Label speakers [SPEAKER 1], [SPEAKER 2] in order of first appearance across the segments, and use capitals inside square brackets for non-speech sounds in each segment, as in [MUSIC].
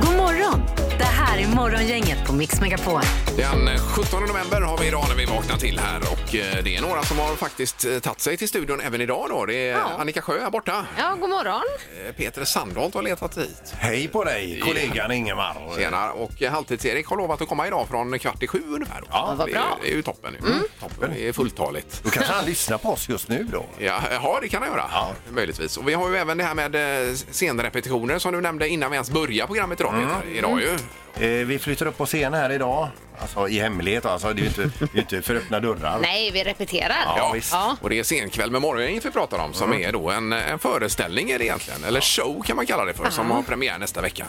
[SPEAKER 1] God morgon! Det här är Morgongänget på Mix Megapol.
[SPEAKER 2] Den 17 november har vi idag när vi vaknar till här och eh, det är några som har faktiskt eh, tagit sig till studion även idag då. Det är Annika Sjö här borta.
[SPEAKER 3] Ja, god morgon.
[SPEAKER 2] Eh, Peter Sandholt har letat hit.
[SPEAKER 4] Hej på dig, kollegan Ingemar.
[SPEAKER 2] Tjena. Och eh, Halvtids-Erik har lovat att komma idag från kvart i sju ungefär. Då.
[SPEAKER 4] Ja, vad
[SPEAKER 2] det,
[SPEAKER 3] bra.
[SPEAKER 2] är- det är ju toppen. ju. toppen. Det är fulltaligt.
[SPEAKER 4] Då kanske han lyssnar på oss just nu då.
[SPEAKER 2] Ja, ja, det kan han göra. Möjligtvis. Och vi har ju även det här med eh, scenrepetitioner som du nämnde innan vi ens började programmet idag Peter. Idag ju.
[SPEAKER 4] Eh, vi flyttar upp på scenen här idag. Alltså i hemlighet alltså, det är ju inte, det är ju inte för öppna dörrar.
[SPEAKER 3] Nej, vi repeterar.
[SPEAKER 4] Ja, visst.
[SPEAKER 3] Ja.
[SPEAKER 2] Och det är Senkväll med morgongänget vi pratar om som är då en, en föreställning är det egentligen, eller show kan man kalla det för, som har premiär nästa vecka.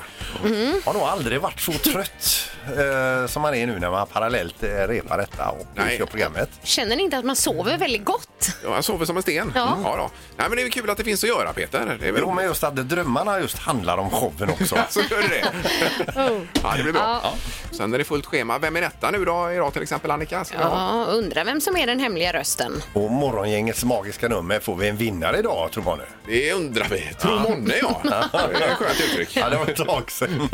[SPEAKER 4] Har nog aldrig varit så trött eh, som man är nu när man parallellt eh, repar detta och
[SPEAKER 2] Nej.
[SPEAKER 4] Nej. kör programmet.
[SPEAKER 3] Känner ni inte att man sover väldigt gott?
[SPEAKER 2] Ja, Jag sover som en sten.
[SPEAKER 3] Ja.
[SPEAKER 2] Ja, då. Nej, men det är väl kul att det finns att göra Peter. Det är väl
[SPEAKER 4] Jo, men just att drömmarna just handlar om showen också.
[SPEAKER 5] Alltså.
[SPEAKER 2] Så gör det. ja, det blir bra. Sen är det fullt schema. Vem är detta nu då idag till exempel Annika? Ska vi ha?
[SPEAKER 3] Ja, undrar vem som är den hemliga rösten.
[SPEAKER 4] Och morgongängets magiska nummer får vi en vinnare idag, tror jag nu.
[SPEAKER 2] Det undrar vi. Tro månne ja. Det är ett skönt uttryck.
[SPEAKER 4] Ja, det var ett tag sedan.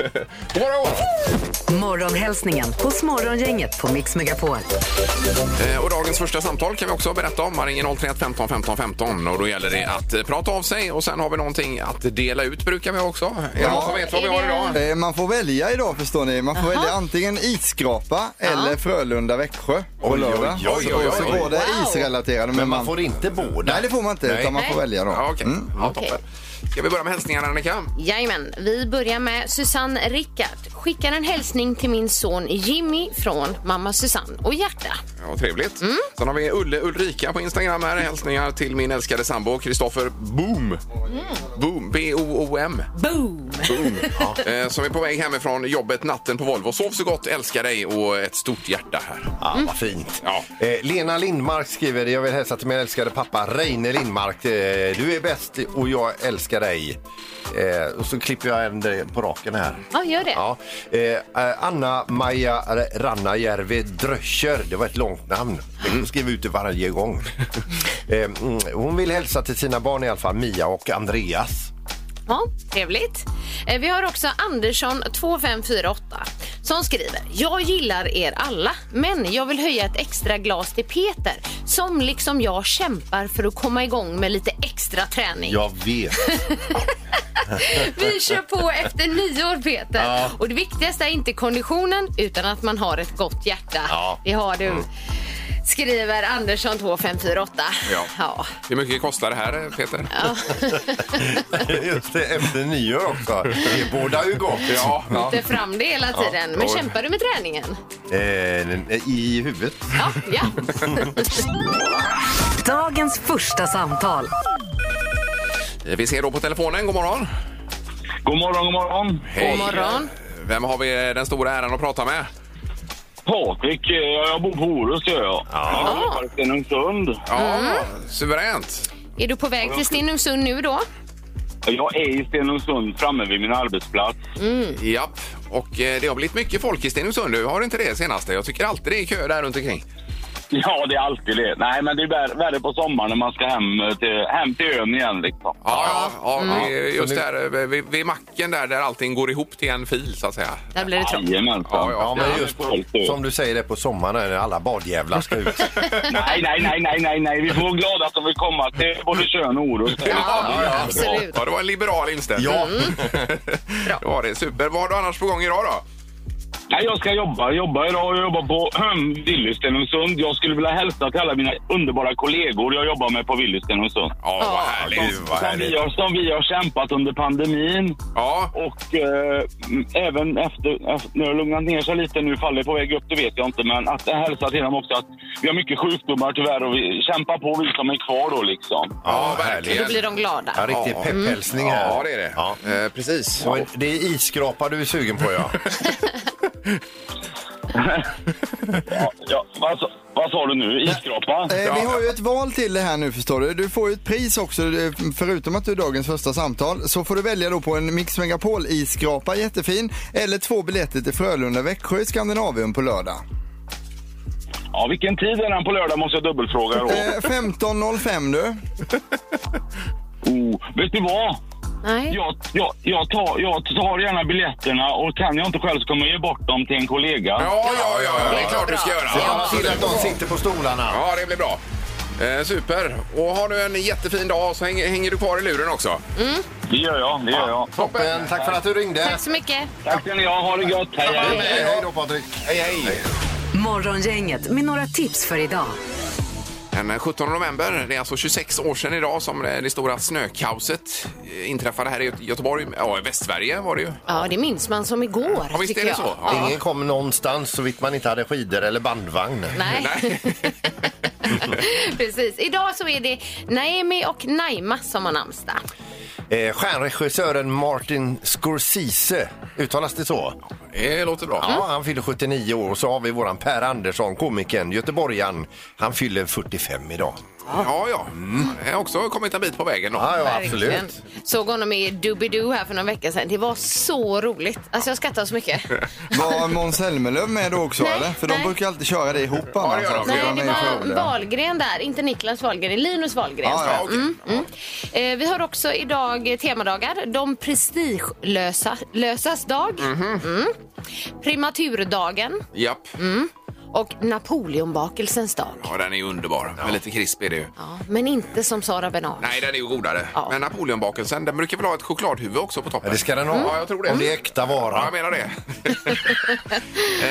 [SPEAKER 2] God morgon!
[SPEAKER 1] Morgonhälsningen hos Morgongänget på Mix Megapol.
[SPEAKER 2] Eh, Och dagens första samtal kan vi också berätta om. Man ringer 031 15 15 15 och då gäller det att eh, prata av sig och sen har vi någonting att dela ut brukar vi ha också. Är det någon som vet vad vi har idag?
[SPEAKER 5] Eh, Man får välja idag förstår ni. Man får välja antingen isskrapa eller Frölunda-Växjö på
[SPEAKER 4] Oj,
[SPEAKER 5] lördag.
[SPEAKER 4] oj, oj, oj,
[SPEAKER 5] Och så
[SPEAKER 4] oj.
[SPEAKER 5] båda är isrelaterade. Men
[SPEAKER 4] Men man
[SPEAKER 5] man...
[SPEAKER 4] får inte båda.
[SPEAKER 5] Nej det får man inte
[SPEAKER 4] Nej.
[SPEAKER 5] utan man får
[SPEAKER 3] Nej.
[SPEAKER 5] välja
[SPEAKER 2] Ja,
[SPEAKER 5] då.
[SPEAKER 2] okej. Ja, toppen. Ska vi börja med hälsningarna Annika?
[SPEAKER 3] Jajamän, vi börjar med Susanne Rickard. Skickar en hälsning till min son Jimmy från mamma Susanne och hjärta.
[SPEAKER 2] Ja, trevligt. Sen har vi Ulle Ulrika på Instagram här. Hälsningar till min älskade sambo Kristoffer Boom. Boom. B-O-O-M.
[SPEAKER 3] Boom!
[SPEAKER 2] Boom. Eh, Som är på väg hemifrån jobbet natten på Volvo. Sov så gott, älskar dig och ett stort hjärta här.
[SPEAKER 4] Ja, vad fint.
[SPEAKER 2] Ja.
[SPEAKER 4] Eh, Lena Lindmark skriver, jag vill hälsa till min älskade pappa Reine Lindmark. Eh, du är bäst och jag älskar dig. Eh, och så klipper jag en eh, på raken här.
[SPEAKER 3] Ja, gör det.
[SPEAKER 4] Ja. Eh, Anna-Maja Rannajärvi Dröscher, det var ett långt namn. Hon skriver ut det varje [LAUGHS] gång. eh, mm, hon vill hälsa till sina barn i alla fall, Mia och Andreas.
[SPEAKER 3] Ja, trevligt. Eh, Vi har också Andersson 2548 som skriver. Jag gillar er alla, men jag vill höja ett extra glas till Peter som liksom jag kämpar för att komma igång med lite extra träning.
[SPEAKER 4] Jag vet.
[SPEAKER 3] Vi kör på efter nyår, Peter. Och det viktigaste är inte konditionen utan att man har ett gott hjärta.
[SPEAKER 4] Ja.
[SPEAKER 3] Det har
[SPEAKER 2] Mm.
[SPEAKER 3] du. Skriver Andersson 2548.
[SPEAKER 2] Ja.
[SPEAKER 3] ja.
[SPEAKER 2] Hur mycket kostar det här Peter?
[SPEAKER 4] [LAUGHS] Just det, efter nyår också. Det båda ju gott.
[SPEAKER 2] [LAUGHS] Ja, ja.
[SPEAKER 3] Lyfter fram det hela tiden. Men kämpar du med träningen?
[SPEAKER 4] Eh, I huvudet.
[SPEAKER 3] Ja. ja.
[SPEAKER 1] Dagens första samtal.
[SPEAKER 2] Vi ser då på telefonen. God morgon.
[SPEAKER 6] God morgon, god morgon.
[SPEAKER 2] [LAUGHS] Hej.
[SPEAKER 3] God morgon.
[SPEAKER 2] Vem har vi den stora äran att prata med?
[SPEAKER 6] Patrik, eh, jag bor på Orust gör jag. Ja. Jag Stenungsund.
[SPEAKER 2] Ja, suveränt.
[SPEAKER 3] Är du på väg till Stenungsund nu då?
[SPEAKER 6] Jag är i Stenungsund framme vid min arbetsplats.
[SPEAKER 2] Japp. Och eh, det har blivit mycket folk i Stenungsund. Du har inte det senaste? Jag tycker alltid det är kö där runt omkring.
[SPEAKER 6] Ja, det är alltid det. Nej, men det är vär- värre på sommaren när man ska hem eh, till, hem till ön igen liksom.
[SPEAKER 2] Ja, ja, ja, det är just där eh, vid, vid macken där, där allting går ihop till en fil så att säga.
[SPEAKER 3] Där blir det trångt.
[SPEAKER 6] Jajamensan.
[SPEAKER 2] Ja, ja.
[SPEAKER 4] Ja, men
[SPEAKER 6] det
[SPEAKER 4] just
[SPEAKER 6] är folk då.
[SPEAKER 4] som du säger det på sommaren när alla badjävlar ska ut.
[SPEAKER 6] Nej, nej, nej, nej, nej, nej. Vi får vara glada att de vill komma till både Tjörn och Orust.
[SPEAKER 3] Ja, absolut.
[SPEAKER 2] Ja, det var en liberal inställning.
[SPEAKER 4] Ja.
[SPEAKER 2] det var det. Super. Vad har du annars på gång idag då?
[SPEAKER 6] Nej, jag ska jobba. Jobba idag. Jag jobbar på Willys Stenungsund. Jag skulle vilja hälsa till alla mina underbara kollegor jag jobbar med på Willys Stenungsund.
[SPEAKER 2] Ja, vad härligt. Vad
[SPEAKER 6] Som vi,
[SPEAKER 2] härligt.
[SPEAKER 6] har, som vi har kämpat under pandemin
[SPEAKER 2] Ja,
[SPEAKER 6] och eh, m- även efter, efter, när det har lugnat ner sig lite nu, faller på väg upp, det vet jag inte, men att hälsa till dem också att vi har mycket sjukdomar tyvärr och vi kämpar på vi som är kvar då liksom.
[SPEAKER 2] ja,
[SPEAKER 3] Då
[SPEAKER 2] verkligen.
[SPEAKER 3] blir de
[SPEAKER 4] En
[SPEAKER 3] glada.
[SPEAKER 4] riktig
[SPEAKER 2] Ja.
[SPEAKER 4] pepphälsning här.
[SPEAKER 2] Ja, det är det.
[SPEAKER 4] Ja.
[SPEAKER 2] Eh, precis.
[SPEAKER 4] Så en- det är isskrapa du är sugen på,
[SPEAKER 2] [LAUGHS]
[SPEAKER 4] ja.
[SPEAKER 6] Ja, ja, vad, sa- vad sa du nu? Isskrapa?
[SPEAKER 5] Eh,
[SPEAKER 2] Ja.
[SPEAKER 5] Vi har ju ett val till det här nu förstår du. Du får ju ett pris också. eh, Förutom att du är dagens första samtal så får du välja då på en Mix Megapol isskrapa, jättefin. Eller två biljetter till Frölunda-Växjö i Skandinavium på lördag.
[SPEAKER 6] Ja, vilken tid är den på lördag måste jag dubbelfråga då.
[SPEAKER 5] Eh, 15.05 du.
[SPEAKER 6] Oh, vet du vad?
[SPEAKER 3] Nej.
[SPEAKER 6] Jag, jag, jag, tar, jag tar gärna biljetterna och kan jag inte själv så kommer jag ge bort dem till en kollega.
[SPEAKER 2] Ja, ja, ja, ja, det är klart du ska göra.
[SPEAKER 4] Ja, till att de sitter på stolarna.
[SPEAKER 2] Ja, det blir bra. Eh, super. Och har du en jättefin dag så hänger, hänger du kvar i luren också.
[SPEAKER 6] Det gör jag, det gör jag.
[SPEAKER 4] Toppen, tack för att du ringde.
[SPEAKER 3] Tack så mycket.
[SPEAKER 6] Tack ska ni ha, ha det gött. Hej, hej.
[SPEAKER 4] Hej hej då Patrik.
[SPEAKER 2] Hej, hej.
[SPEAKER 1] Morgongänget med några tips för idag.
[SPEAKER 2] Den 17 november, det är alltså 26 år sedan idag som det det stora snökaoset eh, inträffade här i Göte- Göteborg. Ja, i Västsverige var det ju.
[SPEAKER 3] Ja, det minns man som igår.
[SPEAKER 2] Ja, visst är
[SPEAKER 3] tycker
[SPEAKER 2] det
[SPEAKER 3] jag.
[SPEAKER 2] så? Ja.
[SPEAKER 4] Ingen kom någonstans så vitt man inte hade skidor eller bandvagn.
[SPEAKER 3] Nej.
[SPEAKER 2] Nej. [LAUGHS]
[SPEAKER 3] [LAUGHS] Precis. Idag så är det Naomi och Naima som har namnsdag.
[SPEAKER 4] Eh, stjärnregissören Martin Scorsese, uttalas det så?
[SPEAKER 2] Mm. Det låter bra.
[SPEAKER 4] Ja, han fyller 79 år och så har vi våran Per Andersson, komikern, göteborgaren. Han fyller 45 idag.
[SPEAKER 2] Ja, ja. Jag har också kommit en bit på vägen. Då.
[SPEAKER 4] Ja, ja
[SPEAKER 3] Verkligen.
[SPEAKER 4] absolut.
[SPEAKER 3] Såg honom i Doobidoo här för några veckor sedan. Det var så roligt. Alltså jag skrattar så mycket.
[SPEAKER 2] [LAUGHS]
[SPEAKER 5] Var Måns Zelmerlöw med då också
[SPEAKER 3] Nej,
[SPEAKER 5] eller? För
[SPEAKER 3] nej.
[SPEAKER 5] de brukar alltid köra det ihop
[SPEAKER 2] det
[SPEAKER 5] annars.
[SPEAKER 2] gör de.
[SPEAKER 5] alltså.
[SPEAKER 3] Nej,
[SPEAKER 5] De
[SPEAKER 3] det
[SPEAKER 5] är för
[SPEAKER 3] var
[SPEAKER 5] roliga.
[SPEAKER 3] Wahlgren där. Inte Niklas Wahlgren, Linus Wahlgren.
[SPEAKER 5] Ja,
[SPEAKER 2] Ja, okej.
[SPEAKER 3] Mm. Eh, vi har också idag temadagar. De prestigelösas dag.
[SPEAKER 2] Mhm.
[SPEAKER 3] Mm. Primaturdagen
[SPEAKER 2] Japp.
[SPEAKER 3] och Napoleonbakelsens dag.
[SPEAKER 2] Ja, den är ju underbar. Men lite krisp är det ju.
[SPEAKER 3] Ja, men inte som Sara Bernard.
[SPEAKER 2] Nej, den är ju godare.
[SPEAKER 3] Ja.
[SPEAKER 2] Men napoleonbakelsen, den brukar väl ha ett chokladhuvud också på
[SPEAKER 4] Ja,
[SPEAKER 2] toppen?
[SPEAKER 4] det ska den ha.
[SPEAKER 2] Ja, jag tror det.
[SPEAKER 4] Om det är äkta
[SPEAKER 2] Ja,
[SPEAKER 4] vara.
[SPEAKER 2] jag menar det. [LAUGHS]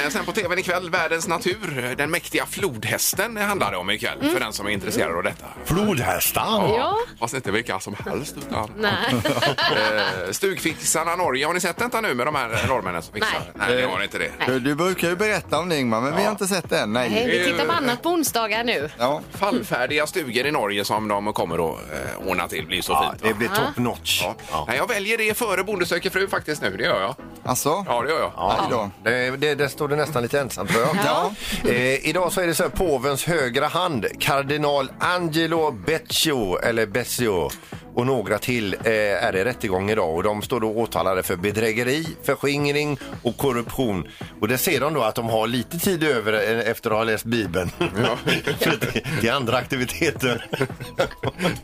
[SPEAKER 2] Eh, Sen på tvn ikväll, Världens natur. Den mäktiga flodhästen handlar det om ikväll, för den som är intresserad av detta.
[SPEAKER 4] Flodhästar!
[SPEAKER 3] Ja.
[SPEAKER 2] Fast inte vilka som helst. Utan... [LAUGHS]
[SPEAKER 3] Nej.
[SPEAKER 2] Eh, Stugfixarna Norge, har ni sett detta nu med de här norrmännen som fixar?
[SPEAKER 3] Nej.
[SPEAKER 2] Nej, det har ni inte det.
[SPEAKER 5] Du, du brukar ju berätta om det Ingmar, men vi har inte sett det än.
[SPEAKER 3] Nej,
[SPEAKER 5] Nej.
[SPEAKER 3] vi tittar på
[SPEAKER 2] Eh.
[SPEAKER 3] annat på onsdagar nu.
[SPEAKER 5] Ja.
[SPEAKER 2] Fallfärdiga stugor i Norge som de kommer att eh, ordna till. blir så
[SPEAKER 4] Ja,
[SPEAKER 2] fint. va?
[SPEAKER 4] det blir top notch.
[SPEAKER 2] Ja.
[SPEAKER 4] Ja.
[SPEAKER 2] Nej, jag väljer det före Bonde söker fru faktiskt nu. Det gör jag.
[SPEAKER 5] Alltså?
[SPEAKER 2] Ja, det gör jag.
[SPEAKER 5] Aj då.
[SPEAKER 4] Det, det, där står det nästan lite ensamt tror jag.
[SPEAKER 5] Ja.
[SPEAKER 4] Eh, idag så är det så här, påvens högra hand, kardinal Angelo Beccio, eller Beccio och några till eh, är i rättegång idag och de står då åtalade för bedrägeri, förskingring och korruption. Och det ser de då att de har lite tid över eh, efter att ha läst Bibeln. [LAUGHS] För det- det är andra aktiviteter.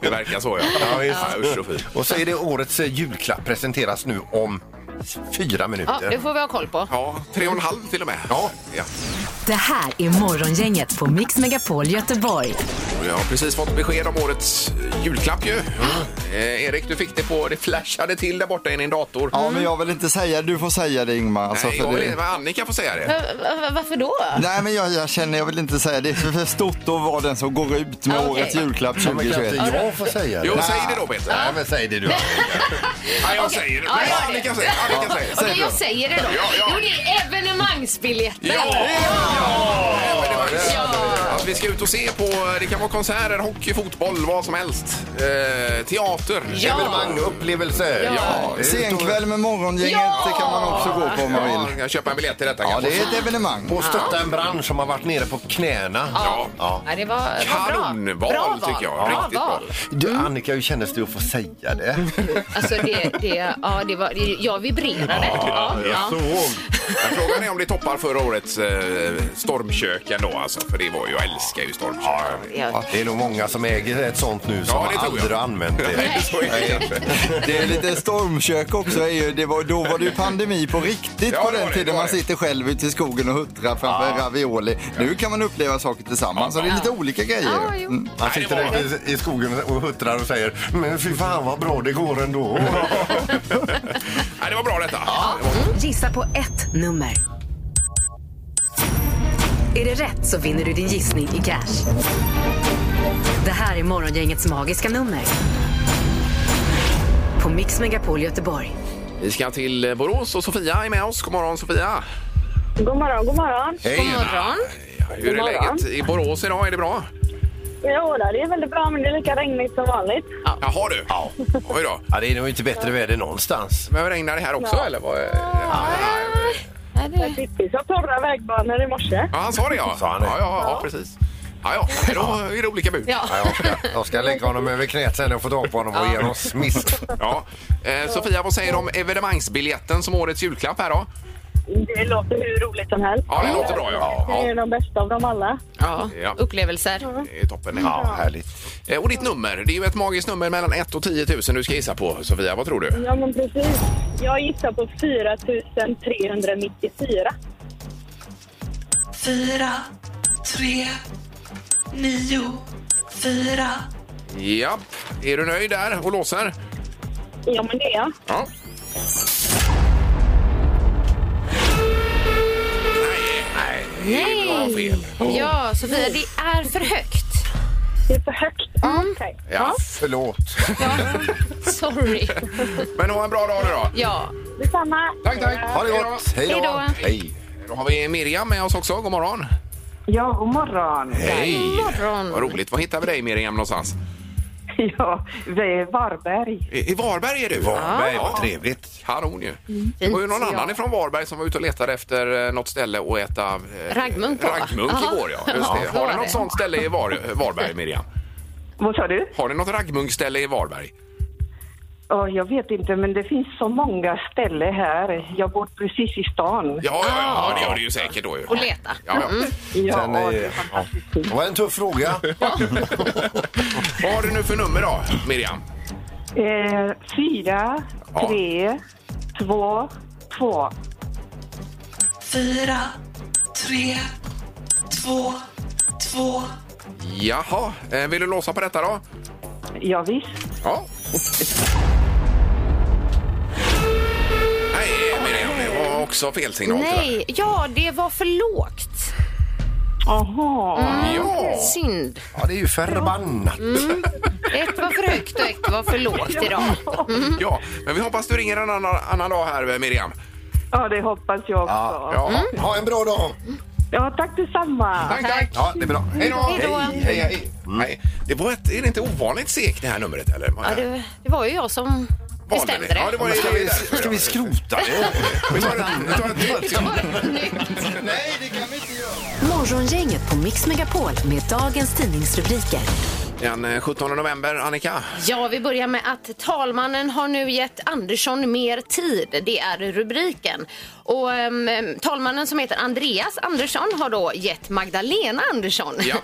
[SPEAKER 2] Det verkar så, ja. ja, usch och fy.
[SPEAKER 4] och så är det årets eh, julklapp presenteras nu om fyra
[SPEAKER 3] Ja,
[SPEAKER 4] minuter.
[SPEAKER 3] det får vi ha koll på.
[SPEAKER 2] Ja, tre och en halv till och med. Ja. Ja.
[SPEAKER 1] Det här är Morgongänget på Mix Megapol Göteborg.
[SPEAKER 2] Och Jag har precis fått besked om årets eh, julklapp ju. Eh, Erik, du fick det på, det flashade till där borta i din dator.
[SPEAKER 5] Ja, men jag vill inte säga, du får säga det Ingmar. Alltså,
[SPEAKER 2] Nej,
[SPEAKER 5] för
[SPEAKER 2] jag vill
[SPEAKER 5] det...
[SPEAKER 2] inte, men Annika får säga det.
[SPEAKER 3] Va- va- va- Varför då?
[SPEAKER 5] Nej, men jag, jag känner, jag vill inte säga det. Det är för stort att vara den som går ut med
[SPEAKER 3] Ah, okej.
[SPEAKER 5] årets julklapp
[SPEAKER 4] Ja, men kan
[SPEAKER 5] 2021.
[SPEAKER 4] inte jag få säga det?
[SPEAKER 2] Jo, säg det då Peter.
[SPEAKER 4] Nej, men säg det du.
[SPEAKER 2] Ja, jag säger det.
[SPEAKER 3] Ja,
[SPEAKER 2] Nej,
[SPEAKER 3] gör det.
[SPEAKER 2] Annika säger det. Annika säger det.
[SPEAKER 3] Okej, jag säger det då.
[SPEAKER 2] Ja, ja.
[SPEAKER 3] Jo, det är evenemangsbiljetter.
[SPEAKER 2] Ja! Ja, men det var ju så. Att vi ska ut och se på, det kan vara konserter, hockey, fotboll, vad som helst. Eh, teater.
[SPEAKER 3] Ja.
[SPEAKER 4] Evenemang, upplevelse.
[SPEAKER 2] Ja.
[SPEAKER 5] Senkväll med morgongänget,
[SPEAKER 3] Ja!
[SPEAKER 5] det kan man också gå på om man
[SPEAKER 2] Ja,
[SPEAKER 5] vill.
[SPEAKER 2] jag köpa en biljett till detta
[SPEAKER 5] Ja,
[SPEAKER 2] kanske.
[SPEAKER 5] det är ett evenemang.
[SPEAKER 4] Och stötta en bransch som har varit nere på knäna.
[SPEAKER 2] Ja.
[SPEAKER 4] Ja.
[SPEAKER 3] Ja, det var, var bra.
[SPEAKER 2] Kanonval
[SPEAKER 3] bra val.
[SPEAKER 2] tycker jag.
[SPEAKER 3] Bra
[SPEAKER 2] Riktigt bra.
[SPEAKER 3] val.
[SPEAKER 4] Du, Annika, hur kändes det att få säga det?
[SPEAKER 3] Alltså det, det, ja, det var, det- jag vibrerade. Ja, ja.
[SPEAKER 2] Men Frågan är om det toppar förra årets eh, stormkök ändå alltså. För det var ju, jag älskar ju stormkök.
[SPEAKER 3] Ja.
[SPEAKER 4] Det är nog många som äger ett sånt nu som
[SPEAKER 2] Ja, det tror jag.
[SPEAKER 4] har aldrig har använt det.
[SPEAKER 2] Nej, så är det kanske.
[SPEAKER 5] Det är lite stormkök också. Är ju, det var, då var det ju pandemi på riktigt
[SPEAKER 2] Ja,
[SPEAKER 5] på
[SPEAKER 2] det var
[SPEAKER 5] den
[SPEAKER 2] det,
[SPEAKER 5] tiden.
[SPEAKER 2] det var
[SPEAKER 5] Man
[SPEAKER 2] det.
[SPEAKER 5] sitter själv ute i skogen och huttrar framför ravioli. Nu kan man uppleva saker tillsammans, så det är lite olika
[SPEAKER 3] Ja,
[SPEAKER 5] grejer.
[SPEAKER 3] jo.
[SPEAKER 5] Mm.
[SPEAKER 4] Man
[SPEAKER 2] Nej, det
[SPEAKER 4] sitter
[SPEAKER 2] var-
[SPEAKER 4] där i, i skogen och huttrar och säger men fy fan vad bra det går ändå.
[SPEAKER 2] Nej, det var bra detta.
[SPEAKER 1] Gissa på ett nummer. Är det rätt så vinner du din gissning i cash. Det här är Morgongängets magiska nummer. På Mix Megapol Göteborg.
[SPEAKER 2] Vi ska till eh, Borås och Sofia är med oss. God morgon Sofia!
[SPEAKER 7] God morgon, god morgon.
[SPEAKER 3] God morgon.
[SPEAKER 2] Hur är
[SPEAKER 7] God morgon.
[SPEAKER 2] läget i Borås idag? Är det bra?
[SPEAKER 7] Jo, det är väldigt bra, men det är lika regnigt som vanligt.
[SPEAKER 2] Jaha du! Ja. Oj då.
[SPEAKER 4] Ja, det är nog inte bättre väder någonstans.
[SPEAKER 2] Men regnar det här också eller? Vad är... ja.
[SPEAKER 3] Är Ah, det...
[SPEAKER 7] Tippis har torra vägbanor i morse.
[SPEAKER 2] ja, han sa det ja.
[SPEAKER 4] Sa han det?
[SPEAKER 2] Ja, ja, ja, precis. Ja, ja, men då är det olika bud.
[SPEAKER 3] Ja.
[SPEAKER 4] Ja, jag, ska, jag ska lägga honom över knät sen och få tag på honom och ge honom smisk.
[SPEAKER 2] Ja. Eh, Sofia, vad säger du om evenemangsbiljetten som årets julklapp här då?
[SPEAKER 7] Det låter hur roligt som helst.
[SPEAKER 2] Ja, det låter bra ja.
[SPEAKER 7] Det är
[SPEAKER 2] ja.
[SPEAKER 7] de bästa av dem alla.
[SPEAKER 3] Ja.
[SPEAKER 2] Ja.
[SPEAKER 3] Upplevelser.
[SPEAKER 2] Det är toppen.
[SPEAKER 4] Ja, härligt.
[SPEAKER 2] Eh, Och ditt nummer, det är ju ett magiskt nummer mellan 1 och 10 000 du ska gissa på Sofia, vad tror du?
[SPEAKER 7] Ja, men precis. Jag gissar på 4 394.
[SPEAKER 8] 4, 3, 9, 4.
[SPEAKER 2] Ja, är du nöjd där och låser?
[SPEAKER 7] Ja, men det är jag.
[SPEAKER 2] Ja. Nej, nej, det var fel.
[SPEAKER 3] Ja, Sofia, det är för högt.
[SPEAKER 7] Det är för högt. Okej.
[SPEAKER 2] Ja.
[SPEAKER 4] Förlåt.
[SPEAKER 3] Sorry.
[SPEAKER 2] Men ha en bra dag nu då.
[SPEAKER 3] Ja.
[SPEAKER 7] Detsamma.
[SPEAKER 2] Tack, tack.
[SPEAKER 4] Ha det gott. Hej
[SPEAKER 3] Hej
[SPEAKER 4] då.
[SPEAKER 3] då.
[SPEAKER 4] Hej.
[SPEAKER 2] Då har vi Miriam med oss också. God morgon.
[SPEAKER 9] Ja, god morgon. [LAUGHS]
[SPEAKER 2] Hej.
[SPEAKER 3] morgon.
[SPEAKER 2] Vad roligt. Var hittar vi dig Miriam någonstans?
[SPEAKER 9] Ja, vi är Varberg.
[SPEAKER 2] I, i Varberg är du?
[SPEAKER 4] Varberg, vad trevligt.
[SPEAKER 2] Kanon ju.
[SPEAKER 3] Mm.
[SPEAKER 2] Det var ju någon annan ifrån Varberg som var ute och letade efter eh, något ställe och äta eh,
[SPEAKER 3] Raggmunk, va?
[SPEAKER 2] raggmunk
[SPEAKER 3] Ja.
[SPEAKER 2] igår. Ja. Just det.
[SPEAKER 3] Ja, så
[SPEAKER 2] Har
[SPEAKER 3] var
[SPEAKER 2] du något
[SPEAKER 3] det.
[SPEAKER 2] sånt ställe i Var- eh, Varberg, Miriam?
[SPEAKER 9] Vad sa du?
[SPEAKER 2] Har du något raggmunkställe i Varberg?
[SPEAKER 9] Ja, jag vet inte, men det finns så många ställen här. Jag bor precis i stan.
[SPEAKER 2] Ja, ja, ja, ja det gör det ju säkert då. Ju.
[SPEAKER 3] Och leta. Mm.
[SPEAKER 2] Ja, ja.
[SPEAKER 9] Ja,
[SPEAKER 4] Sen är-
[SPEAKER 9] det är fantastiskt
[SPEAKER 4] Det
[SPEAKER 9] fint.
[SPEAKER 4] var en tuff fråga.
[SPEAKER 2] Vad har du nu för nummer då, Miriam?
[SPEAKER 9] Eh, fyra,
[SPEAKER 2] Ja.
[SPEAKER 9] tre, två, två.
[SPEAKER 8] 4, 3, 2, 2.
[SPEAKER 2] Jaha, eh, vill du låsa på detta då?
[SPEAKER 9] Ja, visst.
[SPEAKER 2] Ja. Nej, Miriam, det var också fel signal tyvärr.
[SPEAKER 3] Nej, ja, det var för lågt.
[SPEAKER 9] Aha.
[SPEAKER 2] Ja.
[SPEAKER 3] Synd.
[SPEAKER 4] Ja, det är ju förbannat.
[SPEAKER 3] Ett var för högt och ett var för lågt idag. Mm.
[SPEAKER 2] ja, men vi hoppas du ringer en annan, annan dag här, eh, Miriam.
[SPEAKER 9] Ja, det hoppas jag också.
[SPEAKER 2] Ja.
[SPEAKER 3] Mm.
[SPEAKER 4] Ha en bra dag.
[SPEAKER 9] Ja, tack detsamma.
[SPEAKER 2] Tack, tack.
[SPEAKER 4] Ja, det är bra.
[SPEAKER 2] Hej då.
[SPEAKER 3] Hej då.
[SPEAKER 2] Hej, hej, hej.
[SPEAKER 4] Mm.
[SPEAKER 2] Nej, det var ett, är det inte ovanligt segt det här numret eller?
[SPEAKER 3] Ja, det, det var ju jag som
[SPEAKER 2] Valde
[SPEAKER 3] bestämde
[SPEAKER 2] det. Ja, det
[SPEAKER 3] det. [LAUGHS]
[SPEAKER 2] var det.
[SPEAKER 4] Ska vi, ska vi skrota det?
[SPEAKER 2] Vi tar en- vi tar en till.
[SPEAKER 1] Morgongänget på Mix Megapol med dagens tidningsrubriker.
[SPEAKER 2] Den eh, 17 november, Annika.
[SPEAKER 3] Ja, vi börjar med att talmannen har nu gett Andersson mer tid. Det är rubriken. Och ehm, talmannen som heter Andreas Andersson har då gett Magdalena Andersson
[SPEAKER 2] Ja.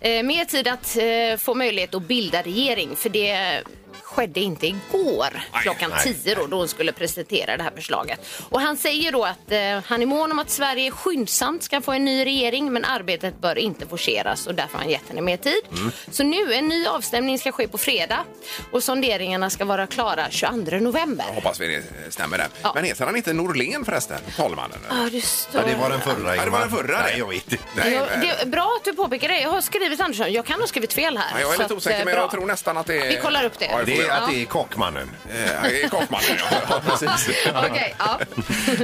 [SPEAKER 3] [LAUGHS] eh, mer tid att eh, få möjlighet att bilda regering. För det skedde inte igår
[SPEAKER 2] Nej,
[SPEAKER 3] klockan
[SPEAKER 2] nej.
[SPEAKER 3] 10 då, då hon skulle presentera det här förslaget. Och han säger då att eh, han är mån om att Sverige skyndsamt ska få en ny regering men arbetet bör inte forceras och därför har han gett henne mer tid.
[SPEAKER 2] Mm.
[SPEAKER 3] Så nu, en ny avstämning ska ske på fredag och sonderingarna ska vara klara 22 november.
[SPEAKER 2] Hoppas vi det stämmer där.
[SPEAKER 3] Ja.
[SPEAKER 2] Men heter han inte Norlén förresten, talmannen?
[SPEAKER 3] Ja, det står...
[SPEAKER 4] Ja, det var den förra.
[SPEAKER 2] Ja, det var den förra.
[SPEAKER 4] Nej, jag vet inte.
[SPEAKER 2] Nej,
[SPEAKER 3] Jag,
[SPEAKER 2] men-
[SPEAKER 3] det är bra att du påpekar det. Jag har skrivit Andersson. Jag kan ha skrivit fel här.
[SPEAKER 2] Ja, jag är
[SPEAKER 3] Så
[SPEAKER 2] lite
[SPEAKER 3] att,
[SPEAKER 2] osäker,
[SPEAKER 3] eh,
[SPEAKER 2] men
[SPEAKER 3] bra.
[SPEAKER 2] jag tror nästan [LAUGHS] att det är...
[SPEAKER 3] Vi kollar upp det.
[SPEAKER 2] Ja,
[SPEAKER 4] Det
[SPEAKER 2] det
[SPEAKER 4] är att det är Kockmannen.
[SPEAKER 2] är, det är Kaufmannen, Eh,
[SPEAKER 4] [LAUGHS]
[SPEAKER 2] ja. precis.
[SPEAKER 3] [LAUGHS]
[SPEAKER 2] [LAUGHS]
[SPEAKER 3] Okej, ja.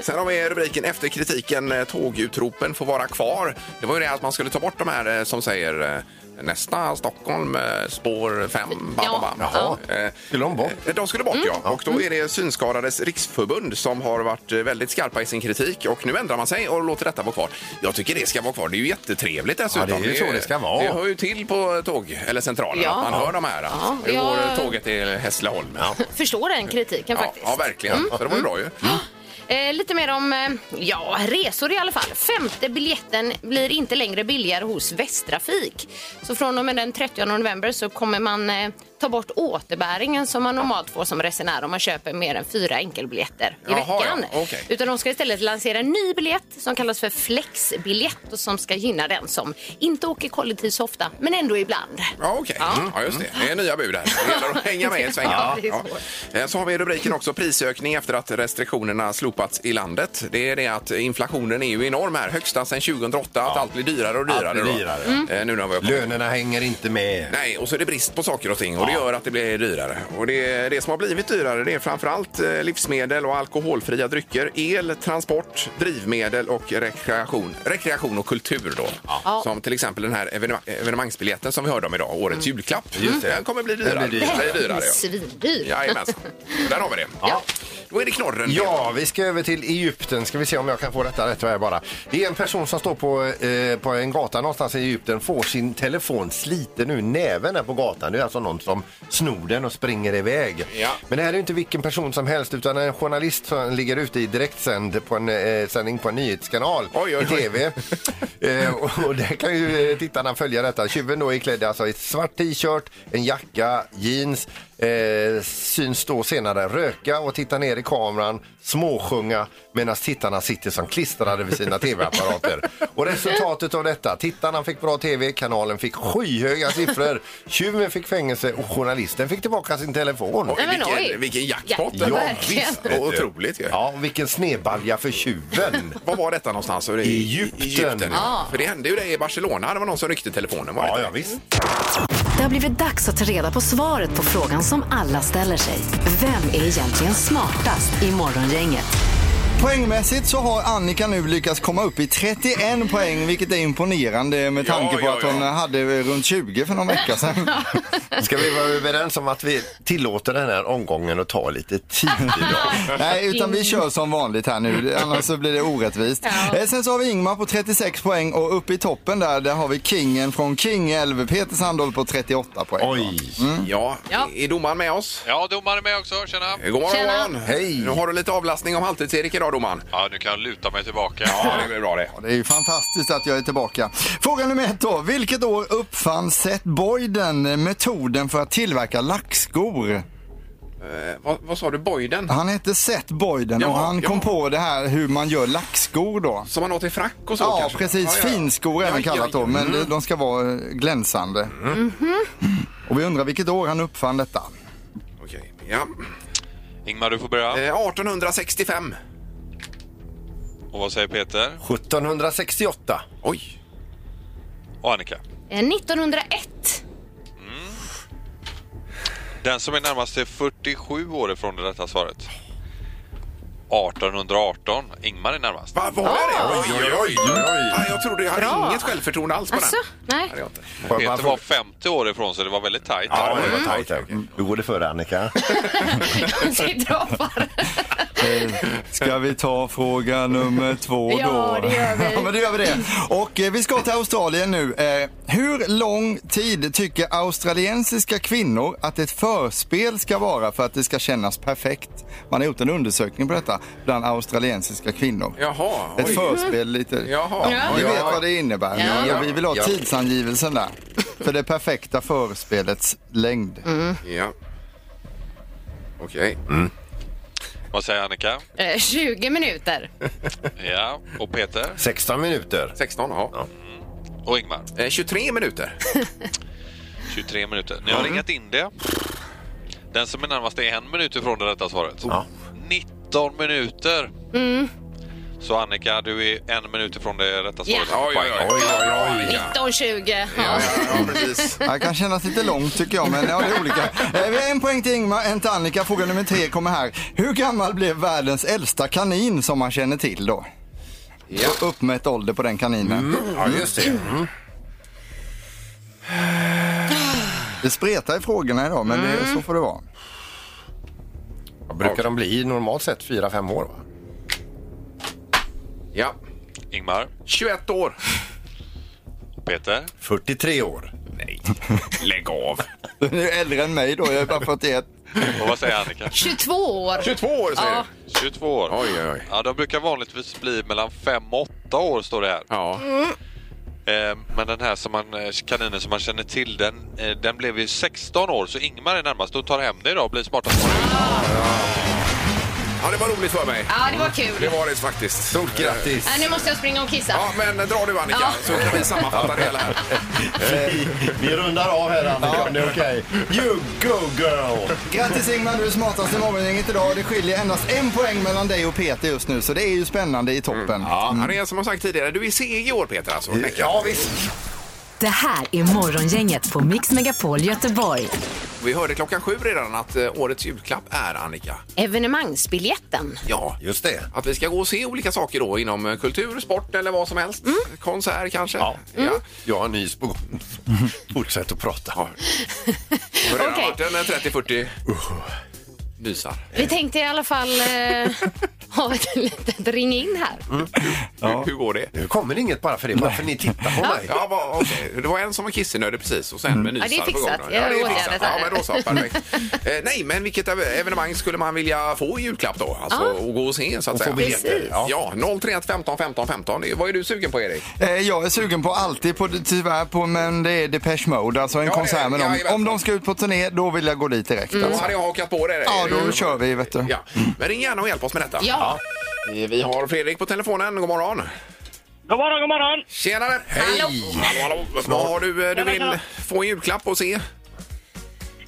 [SPEAKER 2] Sen har vi rubriken efter kritiken eh, tågutropen får vara kvar. Det var ju det att man skulle ta bort de här eh, som säger eh, nästa Stockholm eh, spår 5.
[SPEAKER 3] Ja. Mm.
[SPEAKER 4] Jaha.
[SPEAKER 2] Eh,
[SPEAKER 4] Skulle de bort?
[SPEAKER 2] eh, De skulle bort, ja. Och då är det Synskadades riksförbund som har varit eh, väldigt skarpa i sin kritik och nu ändrar man sig och låter detta vara kvar. Jag tycker det ska vara kvar. Det är ju jättetrevligt dessutom.
[SPEAKER 4] Ja, det är ju så det ska vara.
[SPEAKER 2] Det hör ju till på tåg, eller centralen,
[SPEAKER 3] Ja.
[SPEAKER 2] att man hör de här. att
[SPEAKER 3] Ja,
[SPEAKER 2] Nu går
[SPEAKER 3] jag-
[SPEAKER 2] tåget till Hässleholm. Ja,
[SPEAKER 3] Förstår den kritiken
[SPEAKER 2] ja,
[SPEAKER 3] faktiskt. Mm.
[SPEAKER 2] ja verkligen. Så det var ju bra ju.
[SPEAKER 3] Eh, lite mer om eh, ja, resor i alla fall. Femte biljetten blir inte längre billigare hos Västtrafik. Så från och med den 30 november så kommer man eh, ta bort återbäringen som man normalt får som resenär om man köper mer än fyra enkelbiljetter i
[SPEAKER 2] Jaha, ja.
[SPEAKER 3] veckan.
[SPEAKER 2] Okej.
[SPEAKER 3] Utan de ska istället lansera en ny biljett som kallas för flexbiljett och som ska gynna den som inte åker kollektivt så ofta men ändå ibland.
[SPEAKER 2] Ja, okej. Mm. Ja, just det. Det är nya bud här. Det gäller att hänga med i svängarna.
[SPEAKER 3] Ja, det är
[SPEAKER 2] Ja. Eh, Så har vi i rubriken också prisökning efter att restriktionerna slopats i landet. Det är det att inflationen är ju enorm här. Högsta sedan 2008. Att allt blir dyrare och dyrare.
[SPEAKER 4] Allt blir
[SPEAKER 2] då.
[SPEAKER 4] dyrare.
[SPEAKER 2] Eh, Nu när vi har kommit-
[SPEAKER 4] Lönerna hänger inte med.
[SPEAKER 2] Nej, och så är det brist på saker och ting och det gör att det blir dyrare. Och det, det som har blivit dyrare det är framförallt eh, livsmedel och alkoholfria drycker, el, transport, drivmedel och rekreation, rekreation och kultur. Då.
[SPEAKER 3] Ja.
[SPEAKER 2] Som till exempel den här evenem- evenemangsbiljetten som vi hörde om idag, årets julklapp.
[SPEAKER 4] Mm. Just det.
[SPEAKER 2] Den kommer bli
[SPEAKER 4] Den
[SPEAKER 2] dyrare.
[SPEAKER 4] blir dyrare.
[SPEAKER 2] Den blir dyrare ja.
[SPEAKER 3] Svindyr. [LAUGHS]
[SPEAKER 2] Jajamensan. Där har vi det.
[SPEAKER 4] Ja.
[SPEAKER 2] Då är det knorren.
[SPEAKER 4] Ja, vi ska över till Egypten. Ska vi se om jag kan få detta rätt här bara. Det är en person som står på, eh, på en gata någonstans i Egypten, får sin telefon sliten ur näven här på gatan. Det är alltså någon som snor den och springer iväg.
[SPEAKER 2] Ja.
[SPEAKER 4] Men det här är ju inte vilken person som helst utan en journalist som ligger ute i direktsänd på en eh, sändning på en nyhetskanal
[SPEAKER 2] Oj, oj,
[SPEAKER 4] i tv. eh, och, och där kan ju eh, tittarna följa detta. Tjuven då är klädd alltså i svart t-shirt, en jacka, jeans. Eh, syns då senare röka och titta ner i kameran, småsjunga medan tittarna sitter som klistrade vid sina tv-apparater. Och resultatet av detta, tittarna fick bra tv, kanalen fick skyhöga siffror, tjuven fick fängelse och journalisten fick tillbaka sin telefon.
[SPEAKER 2] Oj,
[SPEAKER 3] Nej, men oj.
[SPEAKER 2] vilken, vilken jackpot
[SPEAKER 3] Ja,
[SPEAKER 2] det var.
[SPEAKER 3] verkligen.
[SPEAKER 2] Visst, det var Otroligt ju.
[SPEAKER 4] Ja, vilken snedbalja för tjuven.
[SPEAKER 2] Var var detta någonstans? I
[SPEAKER 4] Egypten.
[SPEAKER 2] Egypten ja.
[SPEAKER 3] Ja.
[SPEAKER 2] För det hände ju det i Barcelona. Det var någon som ryckte telefonen. Var det
[SPEAKER 4] Ja,
[SPEAKER 2] inte?
[SPEAKER 4] ja visst.
[SPEAKER 1] Det har blivit dags att ta reda på svaret på frågan som alla ställer sig. Vem är egentligen smartast i Morgongänget?
[SPEAKER 5] Poängmässigt så har Annika nu lyckats komma upp i 31 poäng vilket är imponerande med
[SPEAKER 2] Ja,
[SPEAKER 5] tanke på
[SPEAKER 2] ja,
[SPEAKER 5] att hon
[SPEAKER 2] ja.
[SPEAKER 5] hade runt 20 för någon
[SPEAKER 3] [LAUGHS]
[SPEAKER 5] vecka sedan.
[SPEAKER 4] Ska vi vara överens om att vi tillåter den här omgången att ta lite tid
[SPEAKER 2] [LAUGHS]
[SPEAKER 4] idag?
[SPEAKER 5] Nej, utan vi kör som vanligt här nu, annars så blir det orättvist. Eh, Sen så har vi Ingmar på 36 poäng och uppe i toppen där, där har vi kingen från Kingälv, Peter Sandholt på 38 poäng.
[SPEAKER 4] Oj!
[SPEAKER 2] Ja,
[SPEAKER 3] Ja.
[SPEAKER 2] är domaren med oss?
[SPEAKER 8] Ja, domaren är med också. Tjena!
[SPEAKER 2] God morgon,
[SPEAKER 3] Tjena.
[SPEAKER 2] god morgon.
[SPEAKER 4] Hej.
[SPEAKER 2] Nu har du lite avlastning om halvtids-Erik idag, domaren.
[SPEAKER 8] Ja, nu kan jag luta mig tillbaka.
[SPEAKER 2] Ja, det blir bra det.
[SPEAKER 5] Det är ju fantastiskt att jag är tillbaka. Fråga nummer ett då. Vilket år uppfann Seth Boyden eh, metoden för att tillverka lackskor?
[SPEAKER 2] Eh, vad, vad sa du, Boyden?
[SPEAKER 4] Ah.
[SPEAKER 5] Han hette Seth Boyden och
[SPEAKER 2] Jaha,
[SPEAKER 5] han kom
[SPEAKER 2] jaha.
[SPEAKER 5] på det här hur man gör lackskor då.
[SPEAKER 2] Som man åt i frack och så
[SPEAKER 5] Ja,
[SPEAKER 2] kanske?
[SPEAKER 5] precis. Finskor även kallat då, men
[SPEAKER 2] Mm.
[SPEAKER 5] de- de ska vara glänsande.
[SPEAKER 2] Mm-hmm.
[SPEAKER 5] Och vi undrar vilket år han uppfann detta.
[SPEAKER 2] Okej, ja.
[SPEAKER 8] Ingmar, du får börja.
[SPEAKER 2] Eh, 1865.
[SPEAKER 8] Och vad säger Peter?
[SPEAKER 4] 1768.
[SPEAKER 2] Oj.
[SPEAKER 8] Och Annika?
[SPEAKER 3] Eh, [LAUGHS] 1901.
[SPEAKER 8] Den som är närmast är 47 år ifrån det rätta svaret. 1818. Ingmar är närmast.
[SPEAKER 2] Va, var det det? Oj, oj, oj.
[SPEAKER 4] oj.
[SPEAKER 2] Nej, jag trodde jag hade
[SPEAKER 3] Ah. Bra.
[SPEAKER 2] inget självförtroende alls på
[SPEAKER 3] Alltså,
[SPEAKER 2] den.
[SPEAKER 3] nej.
[SPEAKER 2] Hade jag inte.
[SPEAKER 8] Peter var 50 år ifrån så det var väldigt tajt.
[SPEAKER 4] Ja, det var tajt. här. Hur går det för dig, Annika?
[SPEAKER 3] Det droppar.
[SPEAKER 5] Ska vi ta fråga nummer två då?
[SPEAKER 3] [LAUGHS] Ja, det gör vi.
[SPEAKER 5] [LAUGHS] ja, men då gör vi det. Och eh, vi ska till Australien nu. Eh, hur lång tid tycker australiensiska kvinnor att ett förspel ska vara för att det ska kännas perfekt? Man har gjort en undersökning på detta bland australiensiska kvinnor.
[SPEAKER 2] Jaha,
[SPEAKER 5] Ett
[SPEAKER 2] oj.
[SPEAKER 5] förspel lite.
[SPEAKER 2] Jaha.
[SPEAKER 5] Ja, ni
[SPEAKER 2] Ja.
[SPEAKER 5] vet vad det innebär.
[SPEAKER 3] Ja.
[SPEAKER 5] Och vi vill ha
[SPEAKER 4] Ja.
[SPEAKER 5] tidsangivelsen där. För det perfekta förspelets längd.
[SPEAKER 2] Ja. Okej.
[SPEAKER 8] Vad säger Annika?
[SPEAKER 3] Eh, 20 minuter.
[SPEAKER 8] Ja. Och Peter?
[SPEAKER 4] 16 minuter.
[SPEAKER 2] 16, ja.
[SPEAKER 8] Och Ingmar?
[SPEAKER 2] Eh, 23 minuter.
[SPEAKER 8] 23 minuter. Ni har ringat in det. Den som är närmast är en minut ifrån det rätta svaret. 19 minuter. Så Annika, du är en minut ifrån det rätta
[SPEAKER 3] Ja.
[SPEAKER 8] svaret.
[SPEAKER 2] Oj, oj, oj. oj, oj.
[SPEAKER 3] 19.20.
[SPEAKER 2] Ja,
[SPEAKER 3] Ja.
[SPEAKER 2] ja, ja, precis.
[SPEAKER 5] Det kan kännas lite långt tycker jag, men ja, det är olika. Eh, Vi har en poäng till Ingmar, en till Annika. Fråga nummer tre kommer här. Hur gammal blev världens äldsta kanin som man känner till då?
[SPEAKER 2] Ja.
[SPEAKER 5] Och Uppmätt ålder på den kaninen.
[SPEAKER 4] Ja, just det. Mm.
[SPEAKER 5] Det spretar i frågorna idag, men
[SPEAKER 2] Mm.
[SPEAKER 5] det, så får det vara.
[SPEAKER 4] Vad brukar de bli normalt sett? 4-5 år, va?
[SPEAKER 2] ja.
[SPEAKER 8] Ingmar
[SPEAKER 2] 21 år.
[SPEAKER 8] och Peter.
[SPEAKER 4] 43 år.
[SPEAKER 2] Nej, lägg av.
[SPEAKER 5] Den är ju äldre än mig då, jag är bara 41.
[SPEAKER 8] Och vad säger Annika?
[SPEAKER 3] 22 år.
[SPEAKER 2] 22 år säger
[SPEAKER 3] Ja.
[SPEAKER 2] du.
[SPEAKER 8] 22 år.
[SPEAKER 2] Oj, oj, oj.
[SPEAKER 8] Ja, de brukar vanligtvis bli mellan 5 och 8 år står det här.
[SPEAKER 2] Ja.
[SPEAKER 8] Eh, Men den här som man, eh, kaninen som man känner till, den, eh, den blev ju 16 år, så Ingmar är närmast och tar hem dig idag och blir smartast.
[SPEAKER 2] Ja, det var roligt för mig.
[SPEAKER 3] Ja, det var kul.
[SPEAKER 2] Det var det faktiskt. Stort
[SPEAKER 4] grattis.
[SPEAKER 3] Äh, nu måste jag springa och kissa.
[SPEAKER 2] Ja, men dra du Annika
[SPEAKER 3] Ja.
[SPEAKER 2] så kan vi sammanfatta det hela här.
[SPEAKER 4] Vi, vi rundar av här Annika, om det är okej. You go girl!
[SPEAKER 5] Grattis Ingmar, du är smartast i morgongänget idag. Det skiljer endast en poäng mellan dig och Peter just nu, så det är ju spännande i toppen.
[SPEAKER 2] Mm. Ja, det är som jag sagt tidigare, du är seg i år Peter alltså.
[SPEAKER 4] Mm. Ja visst.
[SPEAKER 1] Det här är Morgongänget på Mix Megapol Göteborg.
[SPEAKER 2] Vi hörde klockan sju redan att eh, årets julklapp är Annika. [LAUGHS]
[SPEAKER 3] Evenemangsbiljetten.
[SPEAKER 2] Ja,
[SPEAKER 4] Just det.
[SPEAKER 2] att vi ska gå och se olika saker då inom eh, kultur, sport eller vad som helst.
[SPEAKER 4] Mm.
[SPEAKER 2] Konsert kanske. Ja. Ja.
[SPEAKER 4] Jag har en nys på gång. Fortsätt att prata.
[SPEAKER 2] Det har redan
[SPEAKER 3] Okej.
[SPEAKER 2] varit en eh, 30-40 nysar.
[SPEAKER 3] Vi tänkte i alla fall
[SPEAKER 2] [LAUGHS]
[SPEAKER 3] eh, ha ett litet ring in här.
[SPEAKER 2] Mm. Hur, hur går det?
[SPEAKER 4] Nu kommer det inget bara för det, bara för ni tittar på mig. Mm.
[SPEAKER 2] Ja, va, okej. Det var en som var kissnödig precis och sen med
[SPEAKER 3] Ja,
[SPEAKER 2] nysar
[SPEAKER 3] det är
[SPEAKER 2] på gång.
[SPEAKER 3] fixat.
[SPEAKER 2] då.
[SPEAKER 3] Jag
[SPEAKER 2] det är
[SPEAKER 3] åtgärdat
[SPEAKER 2] fixat.
[SPEAKER 3] det
[SPEAKER 2] Ja,
[SPEAKER 3] här.
[SPEAKER 2] men då så. Perfekt. eh, nej, men vilket ev- evenemang skulle man vilja få i julklapp då? Alltså, och gå och se så att säga.
[SPEAKER 4] få biljetter, Precis.
[SPEAKER 2] Ja,
[SPEAKER 4] ja.
[SPEAKER 2] 031 15 15 15. Det- Vad är du sugen på, Erik?
[SPEAKER 5] Eh, Jag är sugen på alltid, på, tyvärr, på, men det är Depeche Mode, alltså en
[SPEAKER 2] Ja, ja,
[SPEAKER 5] konsert med
[SPEAKER 2] ja, Mm.
[SPEAKER 5] dem.
[SPEAKER 2] jajamän.
[SPEAKER 5] Om de ska ut på turné, då vill jag gå dit direkt.
[SPEAKER 2] Då
[SPEAKER 5] Alltså.
[SPEAKER 2] hade jag hakat på det.
[SPEAKER 5] Ja,
[SPEAKER 2] Det är
[SPEAKER 5] då
[SPEAKER 2] ju-
[SPEAKER 5] kör vi, vet du.
[SPEAKER 2] Ja. Men ring gärna och hjälp oss med detta.
[SPEAKER 3] Ja.
[SPEAKER 2] Eh, Vi har Fredrik på telefonen. God morgon.
[SPEAKER 6] God morgon, god morgon!
[SPEAKER 2] Tjenare!
[SPEAKER 3] Hallå.
[SPEAKER 2] Hallå, hallå. Vad har du, eh, du vill få en julklapp och se?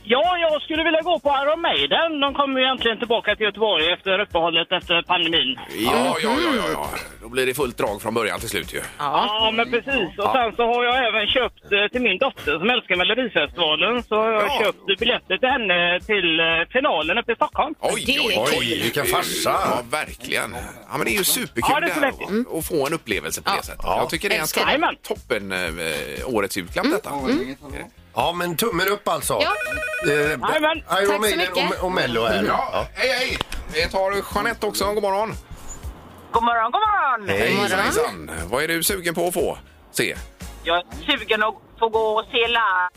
[SPEAKER 6] Ja, jag skulle vilja gå på Iron Maiden. De kommer ju äntligen tillbaka till Göteborg efter uppehållet efter pandemin.
[SPEAKER 2] Ja, ja, ja, ja, ja. Då blir det fullt drag från början till slut ju.
[SPEAKER 6] Ja, men precis. Och sen så har jag även köpt eh, till min dotter som älskar Melodifestivalen så har jag
[SPEAKER 2] Ja.
[SPEAKER 6] köpt biljetter till henne till eh, finalen uppe i Stockholm.
[SPEAKER 2] Oj,
[SPEAKER 3] Det är
[SPEAKER 2] oj,
[SPEAKER 3] kul.
[SPEAKER 4] Oj, vilken farsa.
[SPEAKER 2] Ja, verkligen. Ja, men det är ju superkul
[SPEAKER 6] Ja, det är så
[SPEAKER 2] här,
[SPEAKER 6] lätt.
[SPEAKER 2] att- att få en upplevelse på det sättet. Jag tycker det är en
[SPEAKER 3] Älskar
[SPEAKER 2] toppen,
[SPEAKER 6] det.
[SPEAKER 2] toppen eh, årets julklapp
[SPEAKER 6] Mm.
[SPEAKER 2] detta.
[SPEAKER 4] Ja, men tummen upp alltså.
[SPEAKER 3] Ja.
[SPEAKER 4] Eh,
[SPEAKER 6] Jajamän.
[SPEAKER 4] Iron
[SPEAKER 3] så
[SPEAKER 4] Maiden
[SPEAKER 3] mycket.
[SPEAKER 4] Och, och Mello här.
[SPEAKER 2] Ja, hej, hej! Vi tar Jeanette också. God morgon!
[SPEAKER 9] God morgon, god morgon!
[SPEAKER 4] Hej.
[SPEAKER 2] Hejsan, hejsan. Vad är du sugen på att få se?
[SPEAKER 9] Jag är sugen att få gå och se la.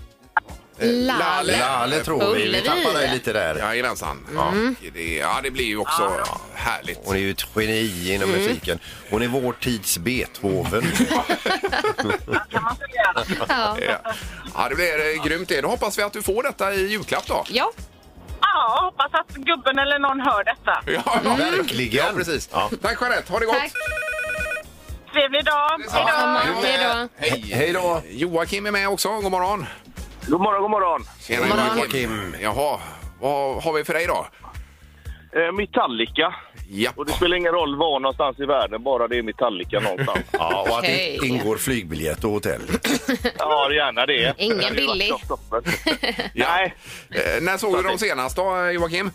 [SPEAKER 2] Eh,
[SPEAKER 3] Lale.
[SPEAKER 4] Lalle tror vi. Vi
[SPEAKER 3] Ullevi.
[SPEAKER 4] tappar dig lite där.
[SPEAKER 2] Jajamensan. Ja, det, ja, det blir ju också ja, härligt.
[SPEAKER 4] Hon är ju ett geni inom musiken. Hon är vår tids Beethoven.
[SPEAKER 9] Kan man säga.
[SPEAKER 2] [LAUGHS]
[SPEAKER 3] Ja.
[SPEAKER 2] Ja. Ja, det blir eh, grymt det. Då hoppas vi att du får detta i julklapp då.
[SPEAKER 3] ja.
[SPEAKER 9] Ja, hoppas att gubben eller någon hör detta.
[SPEAKER 2] Ja, ja.
[SPEAKER 4] Verkligen.
[SPEAKER 2] Ja, precis. Tack Jeanette, ha det gott!
[SPEAKER 3] Tack.
[SPEAKER 9] Trevlig dag! Hej då!
[SPEAKER 3] Samma. Hej då.
[SPEAKER 2] Hej.
[SPEAKER 4] Hej då.
[SPEAKER 2] Joakim är med också, god morgon!
[SPEAKER 6] God morgon, god morgon.
[SPEAKER 2] Tjena Joakim! Jaha, vad har vi för dig idag?
[SPEAKER 6] Eh, Metallica.
[SPEAKER 2] Ja.
[SPEAKER 6] Och det [LAUGHS] spelar ingen roll var någonstans i världen, bara det är Metallica någonstans. [LAUGHS]
[SPEAKER 4] Ja, och att
[SPEAKER 3] Okej.
[SPEAKER 4] det ingår flygbiljett och hotell.
[SPEAKER 6] ja, gärna det.
[SPEAKER 3] Ingen
[SPEAKER 6] Det hade ju varit
[SPEAKER 3] billig. [LAUGHS]
[SPEAKER 6] topp, toppen.
[SPEAKER 2] Ja.
[SPEAKER 6] Nej,
[SPEAKER 2] Eh, när såg du dem senast då, Joakim?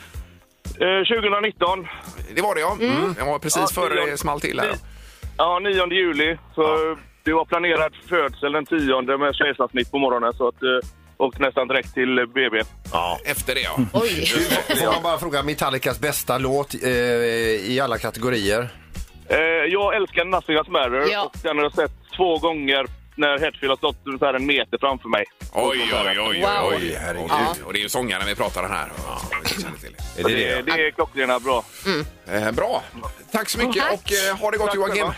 [SPEAKER 6] eh, 2019.
[SPEAKER 2] Det var det ja. Mm. Ja, precis
[SPEAKER 6] Ja,
[SPEAKER 2] före
[SPEAKER 6] det-
[SPEAKER 2] det small till här.
[SPEAKER 6] Ja, 9 juli. Så Det var planerad födsel den 10 med kejsarsnitt på morgonen. Så att, eh, åkte nästan direkt till BB.
[SPEAKER 4] Ja.
[SPEAKER 2] Efter det ja.
[SPEAKER 3] Oj.
[SPEAKER 4] Får man bara fråga Metallicas bästa låt eh, i alla kategorier?
[SPEAKER 6] Eh, jag älskar Nothing Else Matter
[SPEAKER 3] Ja.
[SPEAKER 6] och den har jag sett två gånger när Hetfield har stått ungefär en meter framför mig.
[SPEAKER 2] Oj, oj, oj, oj,
[SPEAKER 3] Wow.
[SPEAKER 2] oj, herregud. Och det är ju sångaren vi pratar om här. Ja, jag känner till det.
[SPEAKER 4] Är det
[SPEAKER 6] Det,
[SPEAKER 4] det?
[SPEAKER 6] det är klockrena bra.
[SPEAKER 2] Eh, bra, tack så mycket och eh, ha det gott
[SPEAKER 6] Tack
[SPEAKER 2] Joakim!
[SPEAKER 6] själva.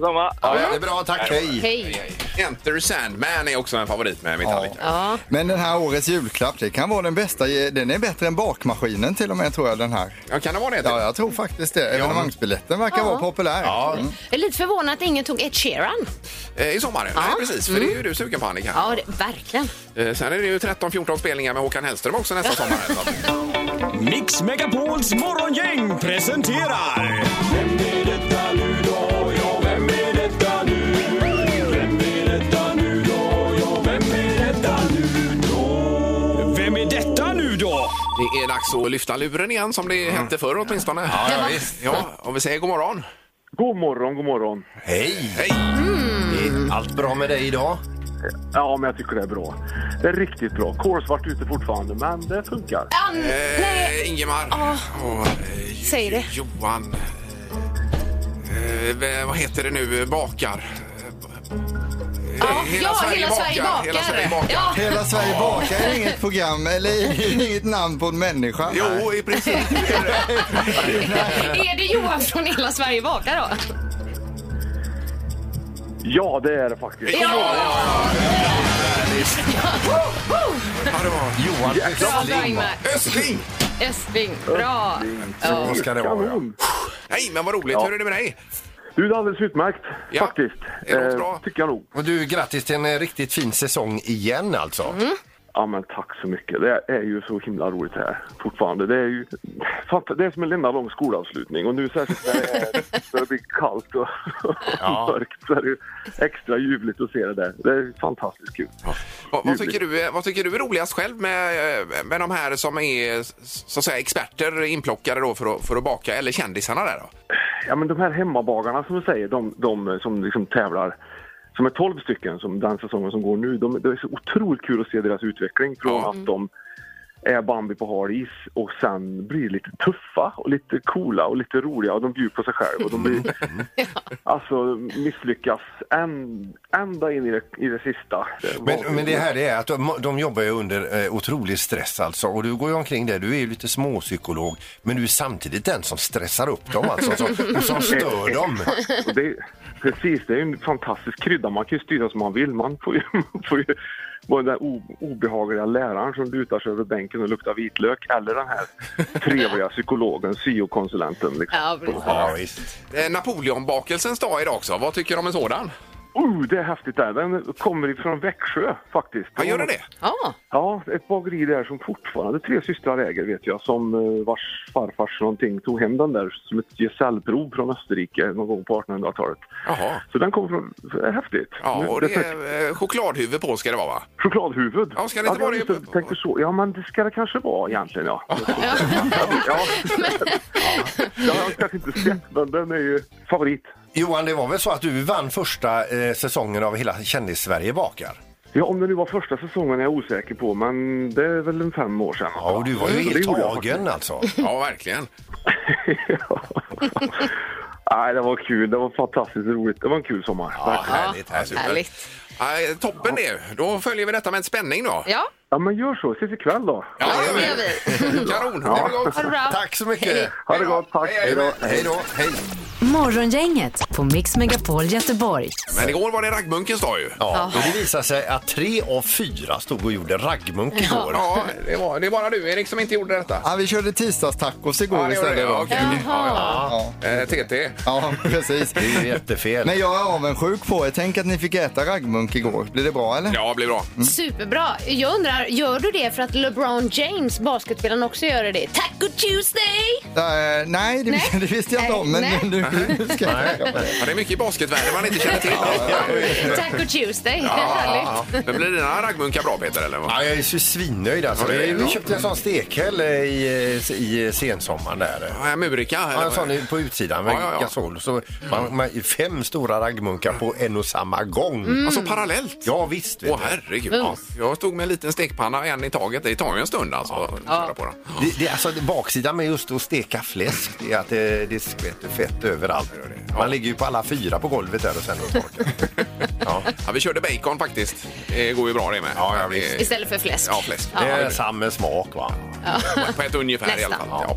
[SPEAKER 6] Samma.
[SPEAKER 4] Ja, det är bra. Tack. Hej.
[SPEAKER 3] Hej.
[SPEAKER 2] Enter Sandman är också en favorit med Metallica.
[SPEAKER 3] Ja.
[SPEAKER 5] Men den här årets julklapp, det kan vara den bästa. Den är bättre än bakmaskinen till och med, tror jag, den här.
[SPEAKER 2] Ja, kan det typ? vara det?
[SPEAKER 5] Ja, jag tror faktiskt det. Evenemangsbiljetten verkar vara populär. Mm.
[SPEAKER 3] Jag är lite förvånad att ingen tog Ed Sheeran.
[SPEAKER 2] Eh, I sommar? Nej, precis. För det är ju du sugen på, Annika.
[SPEAKER 3] Ja, det, verkligen.
[SPEAKER 2] Eh, Sen är det ju 13-14 spelningar med Håkan Hellström också nästa sommar. här, så att-
[SPEAKER 10] Mix Megapols morgongäng presenterar... Vem är detta nu då? Ja, vem är detta nu? Vem är detta nu då? Ja, vem är detta nu då? Vem är detta nu då?
[SPEAKER 2] Det är dags att lyfta luren igen, som det
[SPEAKER 11] Mm.
[SPEAKER 2] hette förr åtminstone. Ja, ja, visst. ja, och vi säger god morgon.
[SPEAKER 6] God morgon, god morgon.
[SPEAKER 4] Hej.
[SPEAKER 2] Hej!
[SPEAKER 4] Allt bra med dig idag?
[SPEAKER 6] Ja, men jag tycker det är bra. Det är riktigt bra. Kolsvart ute fortfarande, men det funkar.
[SPEAKER 3] Ann,
[SPEAKER 2] Eh, Ingemar. Och, eh, Jo-
[SPEAKER 3] Säg det.
[SPEAKER 2] Johan. Eh, v- vad heter det nu? Bakar. Eh,
[SPEAKER 3] Ja, ja, Hela Sverige bakar.
[SPEAKER 2] Hela Sverige bakar.
[SPEAKER 3] Ja.
[SPEAKER 5] Hela Sverige bakar är inget program eller [LAUGHS] inget namn på en människa.
[SPEAKER 2] Jo, i
[SPEAKER 3] [LAUGHS]
[SPEAKER 2] princip. [LAUGHS]
[SPEAKER 3] Är det Johan från Hela Sverige bakar då?
[SPEAKER 11] Ja, det är det faktiskt.
[SPEAKER 4] Johan
[SPEAKER 3] Bra, bra
[SPEAKER 4] Östling.
[SPEAKER 3] Ingmar.
[SPEAKER 2] Östling!
[SPEAKER 3] Östling, bra. Ja.
[SPEAKER 4] Så ska det vara. ja.
[SPEAKER 2] Nej, men vad roligt.
[SPEAKER 4] Ja.
[SPEAKER 2] Hur är det med dig?
[SPEAKER 11] Du, det är alldeles utmärkt faktiskt. Eh,
[SPEAKER 2] Det låter bra.
[SPEAKER 11] Tycker jag nog.
[SPEAKER 4] Och du, grattis till en eh, riktigt fin säsong igen alltså.
[SPEAKER 11] Ja, men tack så mycket. Det är ju så himla roligt här fortfarande. Det är ju fant- det är som en enda lång skolavslutning och nu särskilt när det är- när det blir kallt och
[SPEAKER 4] Ja.
[SPEAKER 11] mörkt så är det ju extra ljuvligt att se det där. Det är fantastiskt kul.
[SPEAKER 2] Vad, vad,
[SPEAKER 11] Ljuvligt.
[SPEAKER 2] tycker du, är- vad tycker du är roligast själv med, eh, med de här som är så att säga, experter inplockade då för, att, för att baka, eller kändisarna där då?
[SPEAKER 11] Ja, men de här hemmabagarna som du säger, de, de som liksom tävlar, som är 12 stycken som den säsongen som går nu, de, det är så otroligt kul att se deras utveckling från att de är Bambi på hal is och sen blir lite tuffa och lite coola och lite roliga och de bjuder på sig själva och de blir, alltså misslyckas än, ända in i det, i det sista.
[SPEAKER 4] Men, men det här det är att de, de jobbar ju under eh, otrolig stress alltså och du går ju omkring där, du är ju lite småpsykolog men du är samtidigt den som stressar upp dem alltså som, och som
[SPEAKER 11] [LAUGHS]
[SPEAKER 4] stör dem.
[SPEAKER 11] Exakt. Och det, precis, det är ju en fantastisk krydda. Man kan ju styra som man vill. Man får ju, [LAUGHS] man får ju vara den där o- obehagliga läraren som lutar sig över bänken och luktar vitlök eller den här trevliga psykologen, syokonsulenten. Liksom.
[SPEAKER 3] Ja, precis.
[SPEAKER 4] Ja, visst.
[SPEAKER 2] Eh, Napoleonbakelsens dag idag också. Vad tycker du om en sådan?
[SPEAKER 11] Oh, det är häftigt där. Den kommer ifrån Växjö faktiskt.
[SPEAKER 2] Ja, gör den det?
[SPEAKER 3] Ja.
[SPEAKER 11] Ja, ett bageri där som fortfarande tre systrar äger vet jag, som eh, vars farfars någonting tog hem den där som ett gesällprov från Österrike någon gång på 1800-talet.
[SPEAKER 2] Jaha.
[SPEAKER 11] Så den kommer från, det är häftigt.
[SPEAKER 2] Ja, och det
[SPEAKER 11] Dessutom-
[SPEAKER 2] är eh, chokladhuvud på ska det vara va?
[SPEAKER 11] Chokladhuvud?
[SPEAKER 2] Ja, ska det inte
[SPEAKER 11] jag
[SPEAKER 2] vara det?
[SPEAKER 11] visste- tänkte så. Ja, men det ska det kanske vara egentligen, ja. ja. Det har jag kanske inte sett, men den är ju favorit.
[SPEAKER 4] Johan, det var väl så att du vann första eh, säsongen av hela Kändis-Sverige bakar?
[SPEAKER 11] Ja, om det nu var första säsongen är jag osäker på, men det är väl en fem år sedan.
[SPEAKER 4] Ja, och du var ju
[SPEAKER 11] Mm. Det
[SPEAKER 4] helt
[SPEAKER 11] gjorde jag
[SPEAKER 4] tagen alltså.
[SPEAKER 2] Ja, verkligen.
[SPEAKER 11] Ja. Nej, det var kul. Det var fantastiskt roligt. Det var en kul sommar.
[SPEAKER 4] Ja,
[SPEAKER 11] Ja,
[SPEAKER 4] härligt, härligt.
[SPEAKER 3] Härligt.
[SPEAKER 2] Eh, toppen det. Då följer vi detta med en spänning då.
[SPEAKER 3] Ja,
[SPEAKER 11] ja men gör så. Ses ikväll då.
[SPEAKER 3] ja, det gör vi.
[SPEAKER 2] [LAUGHS] Kanon! Det var gott.
[SPEAKER 3] Ha det bra.
[SPEAKER 4] Tack så mycket!
[SPEAKER 11] Ha det gott. Tack.
[SPEAKER 4] Hej då! Hej då! Hej!
[SPEAKER 1] Morgongänget på Mix Megapol Göteborg.
[SPEAKER 2] Men igår var det raggmunkens dag ju.
[SPEAKER 4] Ja, och det visade sig att tre av fyra stod och gjorde raggmunk igår.
[SPEAKER 2] Ja, det, var, det är bara du Erik som inte gjorde detta.
[SPEAKER 5] Ja, vi körde tisdagstacos igår
[SPEAKER 2] Ja, det gjorde
[SPEAKER 5] istället.
[SPEAKER 2] det.
[SPEAKER 5] då.
[SPEAKER 2] Ja, okej. Mm. Ja, ja. Eh, TT.
[SPEAKER 5] Ja, precis.
[SPEAKER 4] Det är ju jättefel.
[SPEAKER 5] Men jag är avundsjuk på er. Tänk att ni fick äta raggmunk igår. Blir det bra eller?
[SPEAKER 2] Ja, det blir bra.
[SPEAKER 3] Mm. Superbra. Jag undrar, gör du det för att LeBron James, basketspelaren, också gör det? Taco Tuesday!
[SPEAKER 5] Eh, nej, det,
[SPEAKER 3] Nej.
[SPEAKER 5] det visste jag inte om. Men
[SPEAKER 3] Nej.
[SPEAKER 5] nu, nu ska jag tänka på det.
[SPEAKER 2] Ja, det är mycket i basketvärlden man inte känner till. [LAUGHS] Ja,
[SPEAKER 3] Taco Tuesday.
[SPEAKER 2] ja,
[SPEAKER 3] [LAUGHS] Härligt.
[SPEAKER 2] ja. Men blir dina raggmunkar bra Peter? Eller? vad?
[SPEAKER 4] Ja, jag är så svinnöjd alltså.
[SPEAKER 2] Ja, det är
[SPEAKER 4] Vi
[SPEAKER 2] bra.
[SPEAKER 4] köpte en sån stekhäll i, i sensommaren där.
[SPEAKER 2] Ja, Murika?
[SPEAKER 4] Ja,
[SPEAKER 2] eller
[SPEAKER 4] en
[SPEAKER 2] vad?
[SPEAKER 4] sån i- på utsidan med
[SPEAKER 2] Ja, ja, ja.
[SPEAKER 4] gasol. Så man, man, fem stora raggmunkar på en och samma gång.
[SPEAKER 2] Alltså parallellt?
[SPEAKER 4] Ja, visst. Vet
[SPEAKER 2] Åh
[SPEAKER 4] du.
[SPEAKER 2] herregud. Ja, jag stod med en liten stekpanna en i taget. Det tar ju en stund alltså. att köra På den.
[SPEAKER 4] Det, det, alltså, det baksidan med just att steka fläsk det är att det, det skvätter fett överallt. Man ligger ju på alla fyra på golvet där och sen
[SPEAKER 2] [LAUGHS]
[SPEAKER 4] och torkar. ja.
[SPEAKER 2] Ja, vi körde bacon faktiskt. Det går ju bra det med.
[SPEAKER 4] Ja, ja, visst.
[SPEAKER 2] Det-
[SPEAKER 3] Istället för fläsk.
[SPEAKER 2] Ja, fläsk.
[SPEAKER 4] Det är samma smak va?
[SPEAKER 2] På ett ungefär i alla
[SPEAKER 3] Nästan.
[SPEAKER 2] fall.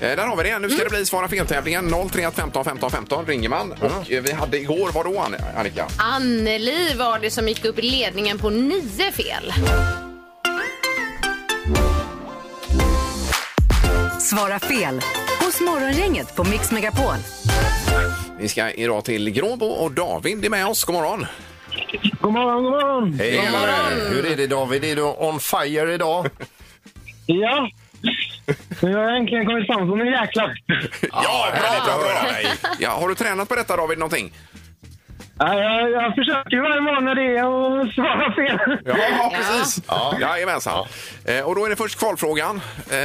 [SPEAKER 2] Ja. Eh, Där har vi det. Nu ska det bli Svara fel-tävlingen. 031 15 15 15 ringer man. Och eh, vi hade igår, vadå Ann- Annika?
[SPEAKER 3] Anneli var det som gick upp i ledningen på nio fel.
[SPEAKER 1] Svara fel hos Morgongänget på Mix Megapol.
[SPEAKER 2] Vi ska idag till Gråbo och David är med oss. God morgon!
[SPEAKER 11] God morgon, god morgon.
[SPEAKER 4] Hej, Hur är det David? Är du on fire idag?
[SPEAKER 11] Ja. Nu har jag äntligen kommit fram som en jäkla...
[SPEAKER 2] Ja, bra, bra, bra. Ja, har du tränat på detta David någonting?
[SPEAKER 11] Jag, jag försöker varje morgon när det är och svara fel.
[SPEAKER 2] Ja, precis. Ja. Jajamensan. Eh, Och då är det först kvalfrågan. Eh,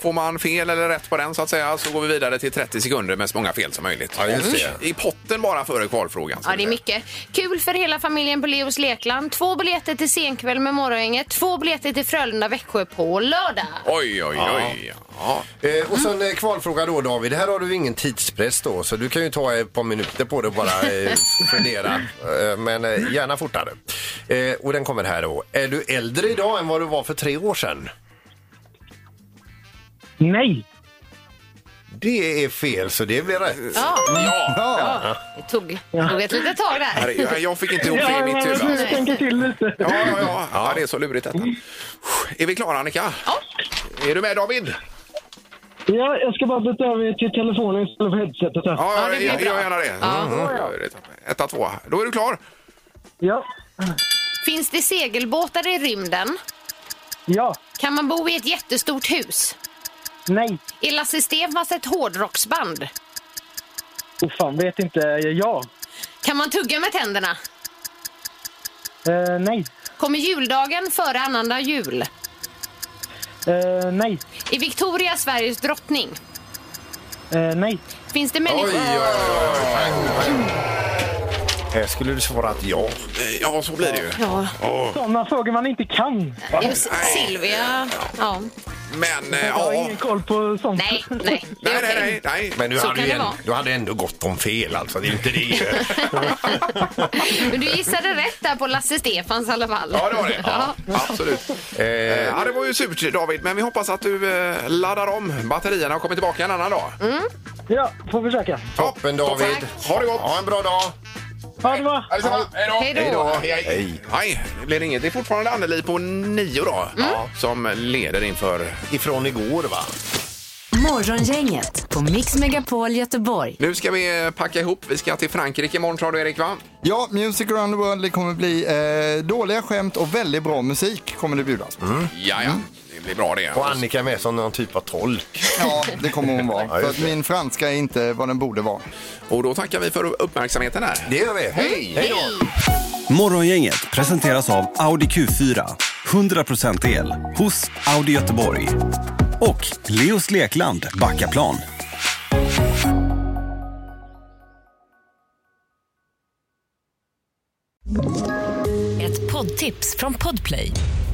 [SPEAKER 2] Får man fel eller rätt på den så att säga så går vi vidare till 30 sekunder med så många fel som möjligt.
[SPEAKER 4] Ja, just det.
[SPEAKER 2] Och I potten bara före kvalfrågan. så
[SPEAKER 3] Ja,
[SPEAKER 2] att
[SPEAKER 3] det är
[SPEAKER 2] säga.
[SPEAKER 3] mycket. Kul för hela familjen på Leos Lekland. Två biljetter till senkväll med Morgongänget. Två biljetter till Frölunda-Växjö på lördag.
[SPEAKER 2] Oj, oj, oj. Ja.
[SPEAKER 4] Eh, och sen eh, kvalfråga då David. Här har du ingen tidspress då så du kan ju ta ett par minuter på det och bara eh, fundera. Eh, men eh, gärna fortare. Eh, och den kommer här då. Är du äldre idag än vad du var för tre år sedan?
[SPEAKER 11] Nej.
[SPEAKER 4] Det är fel, så det blir rätt.
[SPEAKER 3] Ja.
[SPEAKER 4] Ja.
[SPEAKER 3] Ja. Det tog, tog ett litet tag där.
[SPEAKER 2] Herregud, jag fick inte ihop det i mitt huvud.
[SPEAKER 3] jag
[SPEAKER 2] alltså.
[SPEAKER 3] tänker
[SPEAKER 2] till lite. Ja, ja, ja. ja, det är så lurigt detta. Är vi klara, Annika? Är du med, David?
[SPEAKER 12] Ja, jag ska bara byta över till telefonen istället för headsetet här.
[SPEAKER 2] Ja, ja jag gör gärna det. Mm. Ja, det är Etta, två. Då är du klar.
[SPEAKER 12] Ja.
[SPEAKER 3] Finns det segelbåtar i rymden?
[SPEAKER 12] Ja.
[SPEAKER 3] Kan man bo i ett jättestort hus?
[SPEAKER 12] Nej.
[SPEAKER 3] Är Lasse Stefans ett hårdrocksband?
[SPEAKER 12] Oh, fan, vet inte. Ja.
[SPEAKER 3] Kan man tugga med tänderna?
[SPEAKER 12] Eh, nej.
[SPEAKER 3] Kommer juldagen före annandag jul?
[SPEAKER 12] Eh, nej.
[SPEAKER 3] Är Victoria Sveriges drottning?
[SPEAKER 12] Eh, nej.
[SPEAKER 3] Finns det människor...
[SPEAKER 4] Här skulle du svarat ja.
[SPEAKER 2] Eh, Ja, så blir det ju.
[SPEAKER 3] Ja.
[SPEAKER 12] Sådana frågor man inte kan.
[SPEAKER 3] Just Silvia... Ja.
[SPEAKER 2] Men, eh,
[SPEAKER 12] Jag har
[SPEAKER 2] ja.
[SPEAKER 12] ingen koll på sånt.
[SPEAKER 3] Nej, nej. det är
[SPEAKER 2] Nej, nej,
[SPEAKER 3] okej.
[SPEAKER 2] nej, nej.
[SPEAKER 4] Men du
[SPEAKER 3] Så
[SPEAKER 4] hade,
[SPEAKER 3] kan
[SPEAKER 4] ju
[SPEAKER 3] det
[SPEAKER 4] en,
[SPEAKER 3] vara.
[SPEAKER 4] du hade ändå gått om fel alltså, det är inte det.
[SPEAKER 3] [LAUGHS] Men du gissade rätt där på Lasse Stefans i alla fall.
[SPEAKER 2] Ja, det var det.
[SPEAKER 3] Ja.
[SPEAKER 2] Absolut. Eh, ja, det var ju surt, David, men vi hoppas att du eh, laddar om batterierna och kommer tillbaka en annan dag.
[SPEAKER 12] Ja, får försöka.
[SPEAKER 4] Toppen David.
[SPEAKER 2] Ha det gott! Ha en bra dag!
[SPEAKER 12] Ha det bra.
[SPEAKER 2] Hej då! Hej då! Hej,
[SPEAKER 4] Hej.
[SPEAKER 2] Nej, det blir inget. Det är fortfarande Anneli på nio då, ja, som leder inför...
[SPEAKER 4] Ifrån igår, va?
[SPEAKER 1] Morgongänget på Mix Megapol Göteborg.
[SPEAKER 2] Nu ska vi eh, packa ihop. Vi ska till Frankrike imorgon, tror du, Erik, va?
[SPEAKER 5] Ja, Music around the world det kommer bli eh, dåliga skämt och väldigt bra musik kommer det bjudas.
[SPEAKER 4] Mm.
[SPEAKER 2] Ja, ja. Mm. Det blir bra det.
[SPEAKER 4] Och Annika är med som någon typ av tolk.
[SPEAKER 5] Ja, det kommer hon
[SPEAKER 4] [LAUGHS]
[SPEAKER 5] vara.
[SPEAKER 4] Ja,
[SPEAKER 5] För
[SPEAKER 4] just
[SPEAKER 5] att min franska är inte vad den borde vara.
[SPEAKER 2] Och då tackar vi för uppmärksamheten här.
[SPEAKER 4] Det gör vi. Hej! Hej då!
[SPEAKER 13] Morgongänget presenteras av Audi Q4. 100% el hos Audi Göteborg. Och Leos Lekland Backaplan.
[SPEAKER 14] Ett poddtips från Podplay.